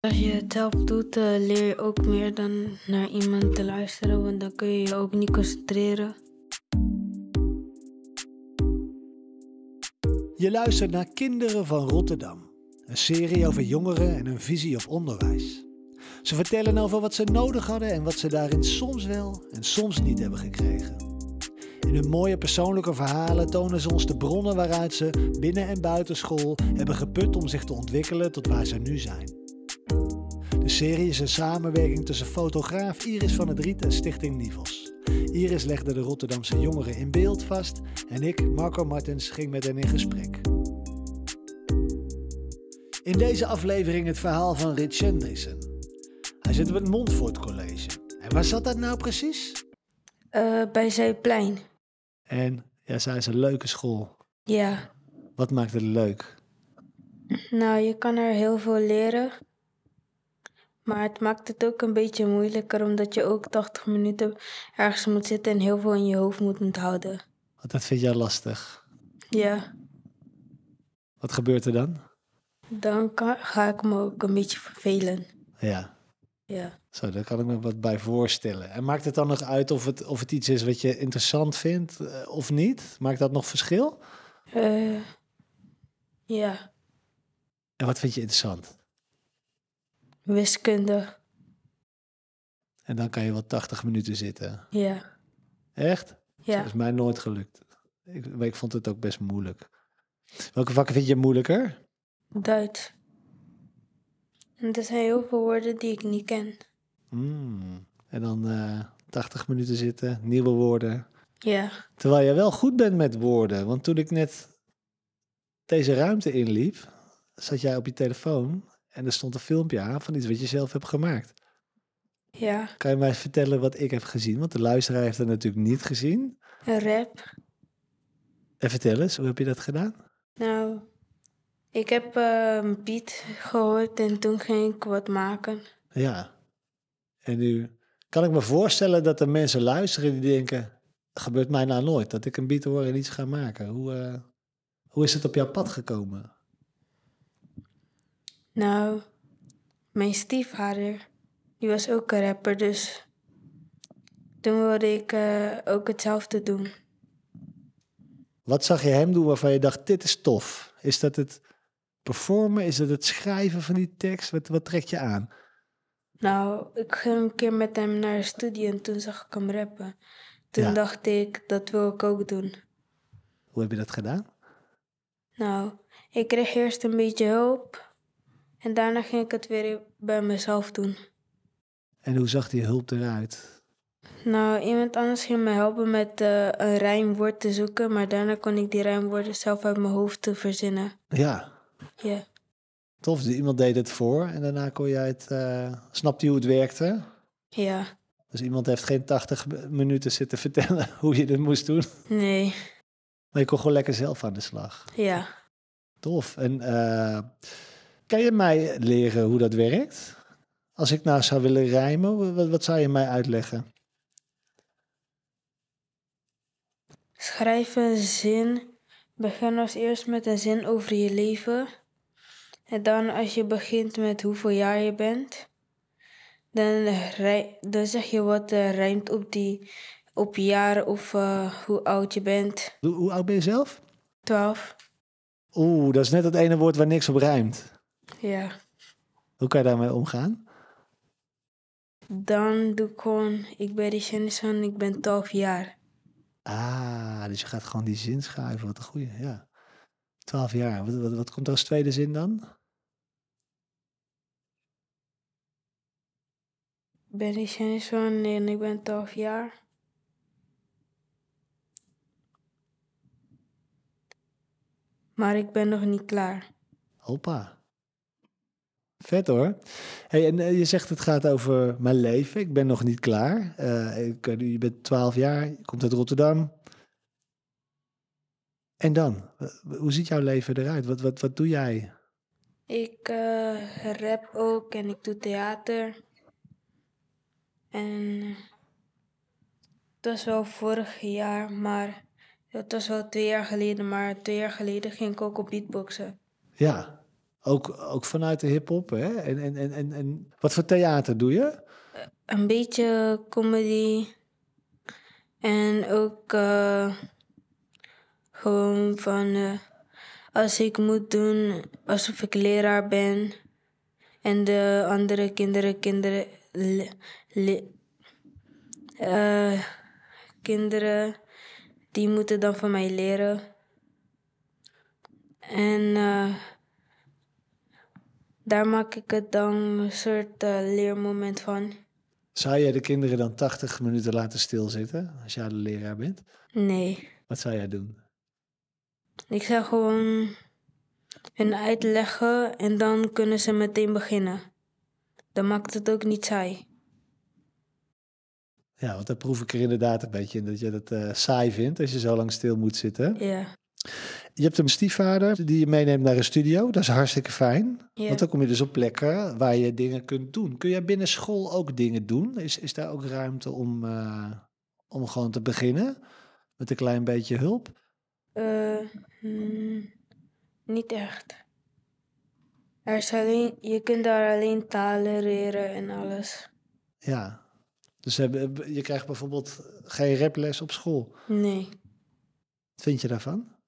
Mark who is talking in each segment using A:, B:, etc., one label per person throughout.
A: Als je het zelf doet, eh, leer je ook meer dan naar iemand te luisteren, want dan kun je je ook niet concentreren.
B: Je luistert naar Kinderen van Rotterdam, een serie over jongeren en hun visie op onderwijs. Ze vertellen over wat ze nodig hadden en wat ze daarin soms wel en soms niet hebben gekregen. In hun mooie persoonlijke verhalen tonen ze ons de bronnen waaruit ze binnen en buiten school hebben geput om zich te ontwikkelen tot waar ze nu zijn. De serie is een samenwerking tussen fotograaf Iris van het Riet en Stichting Nivels. Iris legde de Rotterdamse jongeren in beeld vast en ik, Marco Martens, ging met hen in gesprek. In deze aflevering het verhaal van Rich Hendrissen. Hij zit op het Montfort College. En waar zat dat nou precies?
A: Eh, bij Zijplein.
B: En ja, zij is een leuke school.
A: Ja.
B: Wat maakt het leuk?
A: Nou, je kan er heel veel leren. Maar het maakt het ook een beetje moeilijker, omdat je ook 80 minuten ergens moet zitten en heel veel in je hoofd moet onthouden.
B: Want dat vind jij lastig.
A: Ja.
B: Wat gebeurt er dan?
A: Dan kan- ga ik me ook een beetje vervelen.
B: Ja,
A: Ja.
B: zo, daar kan ik me wat bij voorstellen. En maakt het dan nog uit of het, of het iets is wat je interessant vindt eh, of niet? Maakt dat nog verschil?
A: Eh, ja.
B: En wat vind je interessant?
A: Wiskunde.
B: En dan kan je wel 80 minuten zitten.
A: Ja.
B: Echt?
A: Ja.
B: Dat is mij nooit gelukt. Ik, maar ik vond het ook best moeilijk. Welke vakken vind je moeilijker?
A: Duits. En er zijn heel veel woorden die ik niet ken.
B: Hmm. En dan eh 80 minuten zitten, nieuwe woorden.
A: Ja.
B: Terwijl je wel goed bent met woorden. Want toen ik net deze ruimte inliep, zat jij op je telefoon en er stond een filmpje aan van iets wat je zelf hebt gemaakt.
A: Ja.
B: Kan je mij eens vertellen wat ik heb gezien? Want de luisteraar heeft dat natuurlijk niet gezien.
A: En rap.
B: En vertel eens, hoe heb je dat gedaan?
A: Nou, ik heb eh, een beat gehoord en toen ging ik wat maken.
B: Ja. En nu kan ik me voorstellen dat er mensen luisteren die denken... gebeurt mij nou nooit dat ik een beat hoor en iets ga maken. Hoe, eh, hoe is het op jouw pad gekomen?
A: Nou, mijn stiefvader, die was ook een rapper, dus toen wilde ik eh, ook hetzelfde doen.
B: Wat zag je hem doen waarvan je dacht, dit is tof? Is dat het performen? Is dat het schrijven van die tekst? Wat, wat trek je aan?
A: Nou, ik ging een keer met hem naar de studio en toen zag ik hem rappen. Toen
B: Ja.
A: dacht ik, dat wil ik ook doen.
B: Hoe heb je dat gedaan?
A: Nou, ik kreeg eerst een beetje hulp. En daarna ging ik het weer bij mezelf doen.
B: En hoe zag die hulp eruit?
A: Nou, iemand anders ging me helpen met eh, een rijmwoord te zoeken. Maar daarna kon ik die rijmwoorden zelf uit mijn hoofd te verzinnen.
B: Ja,
A: Ja,
B: tof. Dus iemand deed het voor en daarna kon jij het... eh snapte je hoe het werkte?
A: ja,
B: Dus iemand heeft geen 80 minuten zitten vertellen hoe je dit moest doen.
A: nee,
B: Maar je kon gewoon lekker zelf aan de slag.
A: ja.
B: Tof. En eh, kan je mij leren hoe dat werkt? Als ik nou zou willen rijmen, wat, wat zou je mij uitleggen?
A: Schrijf een zin. Begin als eerst met een zin over je leven. En dan als je begint met hoeveel jaar je bent. Dan, rij- dan zeg je wat eh, rijmt op, die, op jaar of eh, hoe oud je bent.
B: Hoe, hoe oud ben je zelf?
A: 12.
B: Oeh, dat is net het ene woord waar niks op rijmt.
A: Ja.
B: Hoe kan je daarmee omgaan?
A: Dan doe ik gewoon, ik ben Richenison, ik ben 12 jaar.
B: Ah, dus je gaat gewoon die zin schuiven. Wat een goeie, ja. Twaalf jaar. Wat, wat, wat komt er als tweede zin dan?
A: Ik ben Richenison en ik ben 12 jaar. Maar ik ben nog niet klaar.
B: Hoppa. Vet hoor. Hey, en eh, je zegt het gaat over mijn leven. Ik ben nog niet klaar. Eh, ik, eh, je bent 12 jaar, je komt uit Rotterdam. En dan? W- Hoe ziet jouw leven eruit? Wat, wat, wat doe jij?
A: Ik eh, rap ook en ik doe theater. En eh, dat was wel vorig jaar, maar dat was wel twee jaar geleden. Maar twee jaar geleden ging ik ook op beatboxen.
B: Ja. Ook, ook vanuit de hip-hop. hè? En, en, en, en, en wat voor theater doe je?
A: Een beetje comedy. En ook eh, gewoon van eh, als ik moet doen alsof ik leraar ben. En de andere kinderen, kinderen, le- le- eh, kinderen, die moeten dan van mij leren. En eh, daar maak ik het dan een soort eh, leermoment van.
B: Zou jij de kinderen dan 80 minuten laten stilzitten als jij de leraar bent?
A: Nee.
B: Wat zou jij doen?
A: Ik zou gewoon hun uitleggen en dan kunnen ze meteen beginnen. Dan maakt het ook niet saai.
B: Ja, want daar proef ik er inderdaad een beetje in dat je dat eh, saai vindt als je zo lang stil moet zitten.
A: Ja.
B: Je hebt een stiefvader die je meeneemt naar een studio. Dat is hartstikke fijn.
A: Ja.
B: Want dan kom je dus op plekken waar je dingen kunt doen. Kun jij binnen school ook dingen doen? Is, is daar ook ruimte om, eh, om gewoon te beginnen? Met een klein beetje hulp?
A: Eh, mm, niet echt. Er is alleen, je kunt daar alleen talen leren en alles.
B: Ja. Dus heb- je krijgt bijvoorbeeld geen raples op school.
A: Nee.
B: Wat vind je daarvan?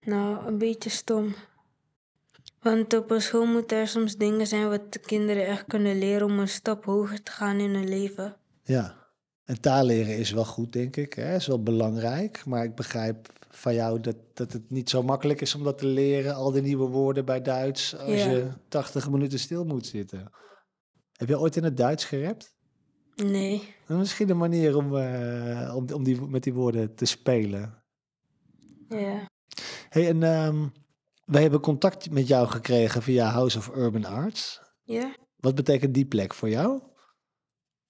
A: Nou, een beetje stom. Want op een school moeten er soms dingen zijn wat de kinderen echt kunnen leren om een stap hoger te gaan in hun leven.
B: Ja. En taal leren is wel goed, denk ik. Hè? Is wel belangrijk. Maar ik begrijp van jou dat, dat het niet zo makkelijk is om dat te leren. Al die nieuwe woorden bij Duits. Als
A: Ja.
B: je 80 minuten stil moet zitten. Heb je ooit in het Duits gerapt?
A: Nee.
B: Nou, Misschien een manier om, eh, om, om die, met die woorden te spelen.
A: Ja.
B: hey, en ehm, wij hebben contact met jou gekregen via House of Urban Arts.
A: Ja?
B: Wat betekent die plek voor jou?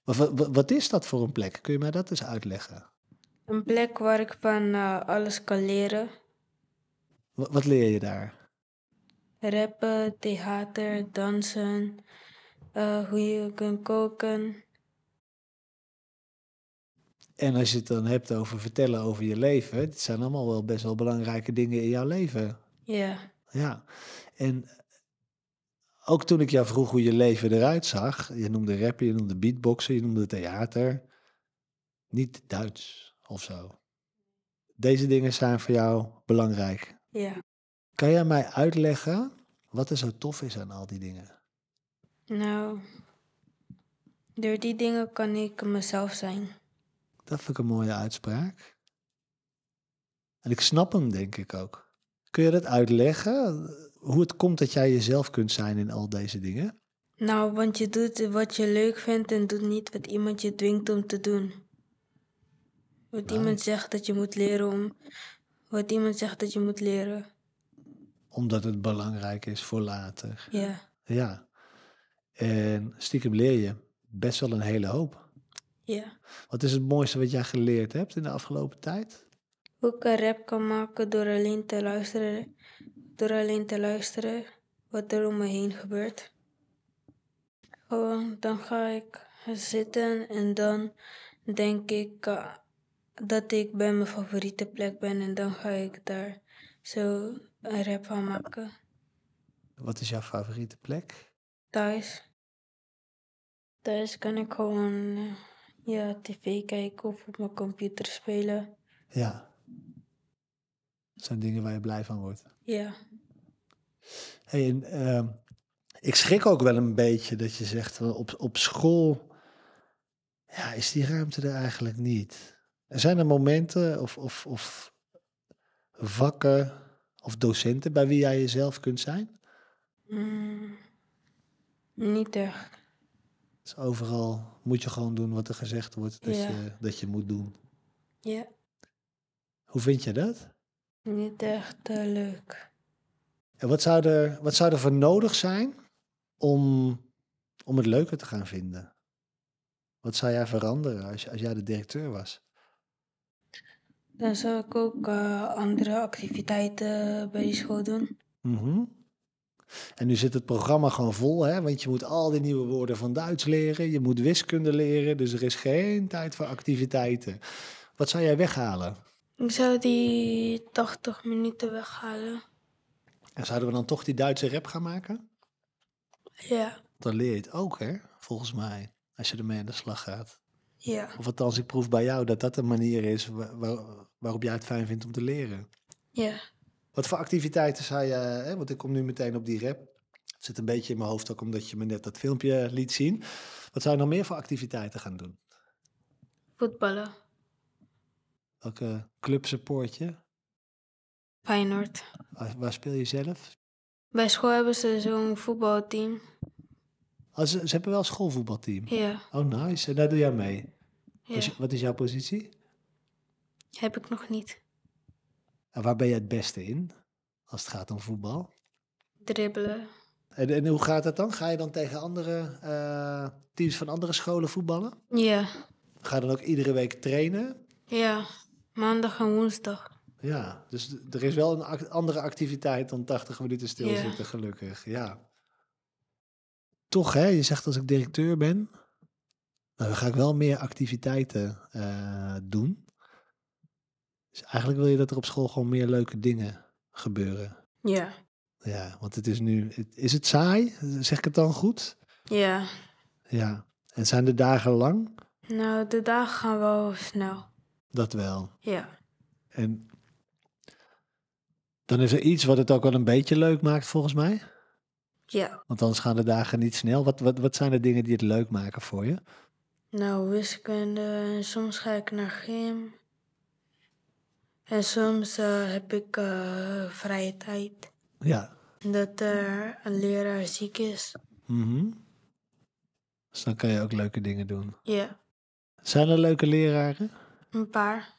B: Wat, wat, wat is dat voor een plek? Kun je mij dat eens uitleggen?
A: Een plek waar ik van eh, alles kan leren.
B: Wat, wat leer je daar?
A: Rappen, theater, dansen, eh, hoe je kunt koken.
B: En als je het dan hebt over vertellen over je leven, het zijn allemaal wel best wel belangrijke dingen in jouw leven.
A: Ja,
B: Ja. En ook toen ik jou vroeg hoe je leven eruit zag, je noemde rappen, je noemde beatboxen, je noemde theater. Niet Duits of zo. Deze dingen zijn voor jou belangrijk.
A: ja.
B: Kan jij mij uitleggen wat er zo tof is aan al die dingen?
A: Nou, door die dingen kan ik mezelf zijn.
B: Dat vind ik een mooie uitspraak. En ik snap hem, denk ik ook. Kun je dat uitleggen? eh, Hoe het komt dat jij jezelf kunt zijn in al deze dingen?
A: Nou, want je doet wat je leuk vindt en doet niet wat iemand je dwingt om te doen. Wat
B: Nice.
A: iemand zegt dat je moet leren om. Wat iemand zegt dat je moet leren.
B: Omdat het belangrijk is voor later.
A: Ja,
B: Ja. En stiekem leer je best wel een hele hoop.
A: ja.
B: Wat is het mooiste wat jij geleerd hebt in de afgelopen tijd?
A: Hoe ik een rap kan maken door alleen te luisteren. Door alleen te luisteren wat er om me heen gebeurt. Gewoon, dan ga ik zitten en dan denk ik eh, dat ik bij mijn favoriete plek ben. En dan ga ik daar zo een rap van maken.
B: Wat is jouw favoriete plek?
A: Thuis. Thuis kan ik gewoon eh, ja, tv kijken of op mijn computer spelen.
B: Ja. Dat zijn dingen waar je blij van wordt.
A: Ja,
B: Hey, en, ehm, ik schrik ook wel een beetje dat je zegt wel, op, op school ja, is die ruimte er eigenlijk niet. Er zijn er momenten of, of, of vakken of docenten bij wie jij jezelf kunt zijn.
A: mm, niet echt.
B: Dus overal moet je gewoon doen wat er gezegd wordt dat,
A: Ja.
B: je, dat je moet doen.
A: Ja,
B: Hoe vind je dat?
A: niet echt eh, leuk.
B: En wat zou er, wat zou er voor nodig zijn om, om het leuker te gaan vinden? Wat zou jij veranderen als, als jij de directeur was?
A: Dan zou ik ook eh, andere activiteiten bij die school doen.
B: Mhm. En nu zit het programma gewoon vol, hè? want je moet al die nieuwe woorden van Duits leren, je moet wiskunde leren, dus er is geen tijd voor activiteiten. Wat zou jij weghalen?
A: Ik zou die 80 minuten weghalen.
B: En zouden we dan toch die Duitse rap gaan maken?
A: Ja,
B: Dan leer je het ook, hè? Volgens mij. Als je ermee aan de slag gaat.
A: ja,
B: Of althans, ik proef bij jou dat dat een manier is wa- waar- waarop jij het fijn vindt om te leren.
A: ja.
B: Wat voor activiteiten zou je... Hè? Want ik kom nu meteen op die rap. Het zit een beetje in mijn hoofd ook omdat je me net dat filmpje liet zien. Wat zou je nog meer voor activiteiten gaan doen?
A: Voetballen.
B: Welke club support je?
A: Feyenoord.
B: Waar, waar speel je zelf?
A: Bij school hebben ze zo'n voetbalteam.
B: Oh, ze, ze hebben wel een schoolvoetbalteam.
A: Ja,
B: Oh, nice. En daar doe jij mee.
A: ja.
B: Wat is- wat is jouw positie?
A: Heb ik nog niet.
B: En waar ben je het beste in als het gaat om voetbal?
A: Dribbelen.
B: En, en hoe gaat dat dan? Ga je dan tegen andere eh, teams van andere scholen voetballen?
A: Ja,
B: Ga je dan ook iedere week trainen?
A: ja. Maandag en woensdag.
B: Ja, dus d- er is wel een act- andere activiteit dan 80 minuten
A: Ja.
B: stilzitten, gelukkig. Ja. Toch, hè? Je zegt als ik directeur ben, nou, dan ga ik wel meer activiteiten eh, doen. Dus eigenlijk wil je dat er op school gewoon meer leuke dingen gebeuren.
A: Ja,
B: Ja, want het is nu. het- Is het saai? Zeg ik het dan goed?
A: ja.
B: Ja. En zijn de dagen lang?
A: Nou, de dagen gaan wel snel.
B: Dat wel.
A: Ja,
B: En dan is er iets wat het ook wel een beetje leuk maakt, volgens mij.
A: ja.
B: Want anders gaan de dagen niet snel. Wat, wat, wat zijn de dingen die het leuk maken voor je?
A: Nou, wiskunde. En soms ga ik naar gym. En soms eh, heb ik eh, vrije tijd.
B: Ja.
A: Omdat er een leraar ziek is.
B: Mhm. Dus dan kan je ook leuke dingen doen.
A: Ja,
B: Zijn er leuke leraren?
A: een paar.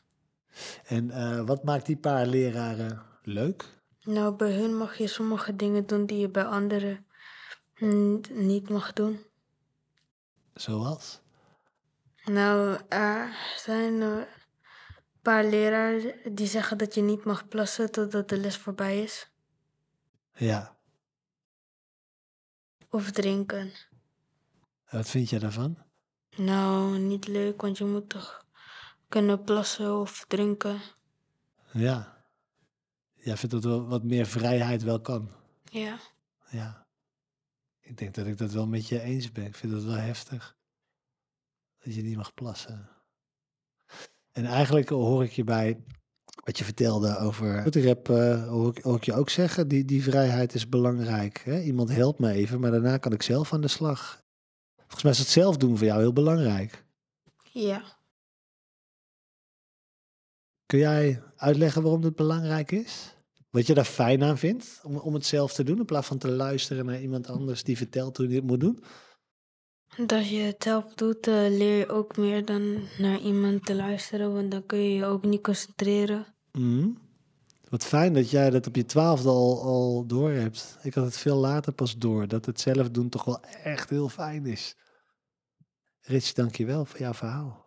B: En eh, wat maakt die paar leraren leuk?
A: Nou, bij hun mag je sommige dingen doen die je bij anderen mm, niet mag doen.
B: Zoals?
A: Nou, er zijn eh, een paar leraren die zeggen dat je niet mag plassen totdat de les voorbij is.
B: Ja.
A: Of drinken.
B: En Wat vind jij daarvan?
A: Nou, niet leuk, want je moet toch kunnen plassen of drinken.
B: Ja. Jij vindt dat wel wat meer vrijheid wel kan.
A: Ja.
B: Ja. Ik denk dat ik dat wel met je eens ben. Ik vind dat wel heftig. Dat je niet mag plassen. En eigenlijk hoor ik je bij wat je vertelde over de rap, eh, hoor, ik, hoor ik je ook zeggen, die, die vrijheid is belangrijk. Hè? Iemand helpt me even, maar daarna kan ik zelf aan de slag. Volgens mij is het zelf doen voor jou heel belangrijk.
A: Ja.
B: Kun jij uitleggen waarom dat belangrijk is? Wat je daar fijn aan vindt om, om het zelf te doen, in plaats van te luisteren naar iemand anders die vertelt hoe je dit moet doen?
A: Dat je het zelf doet, eh, leer je ook meer dan naar iemand te luisteren, want dan kun je je ook niet concentreren.
B: Mhm. Wat fijn dat jij dat op je twaalfde al, al door hebt. Ik had het veel later pas door. Dat het zelf doen toch wel echt heel fijn is. Rich, dank je wel voor jouw verhaal.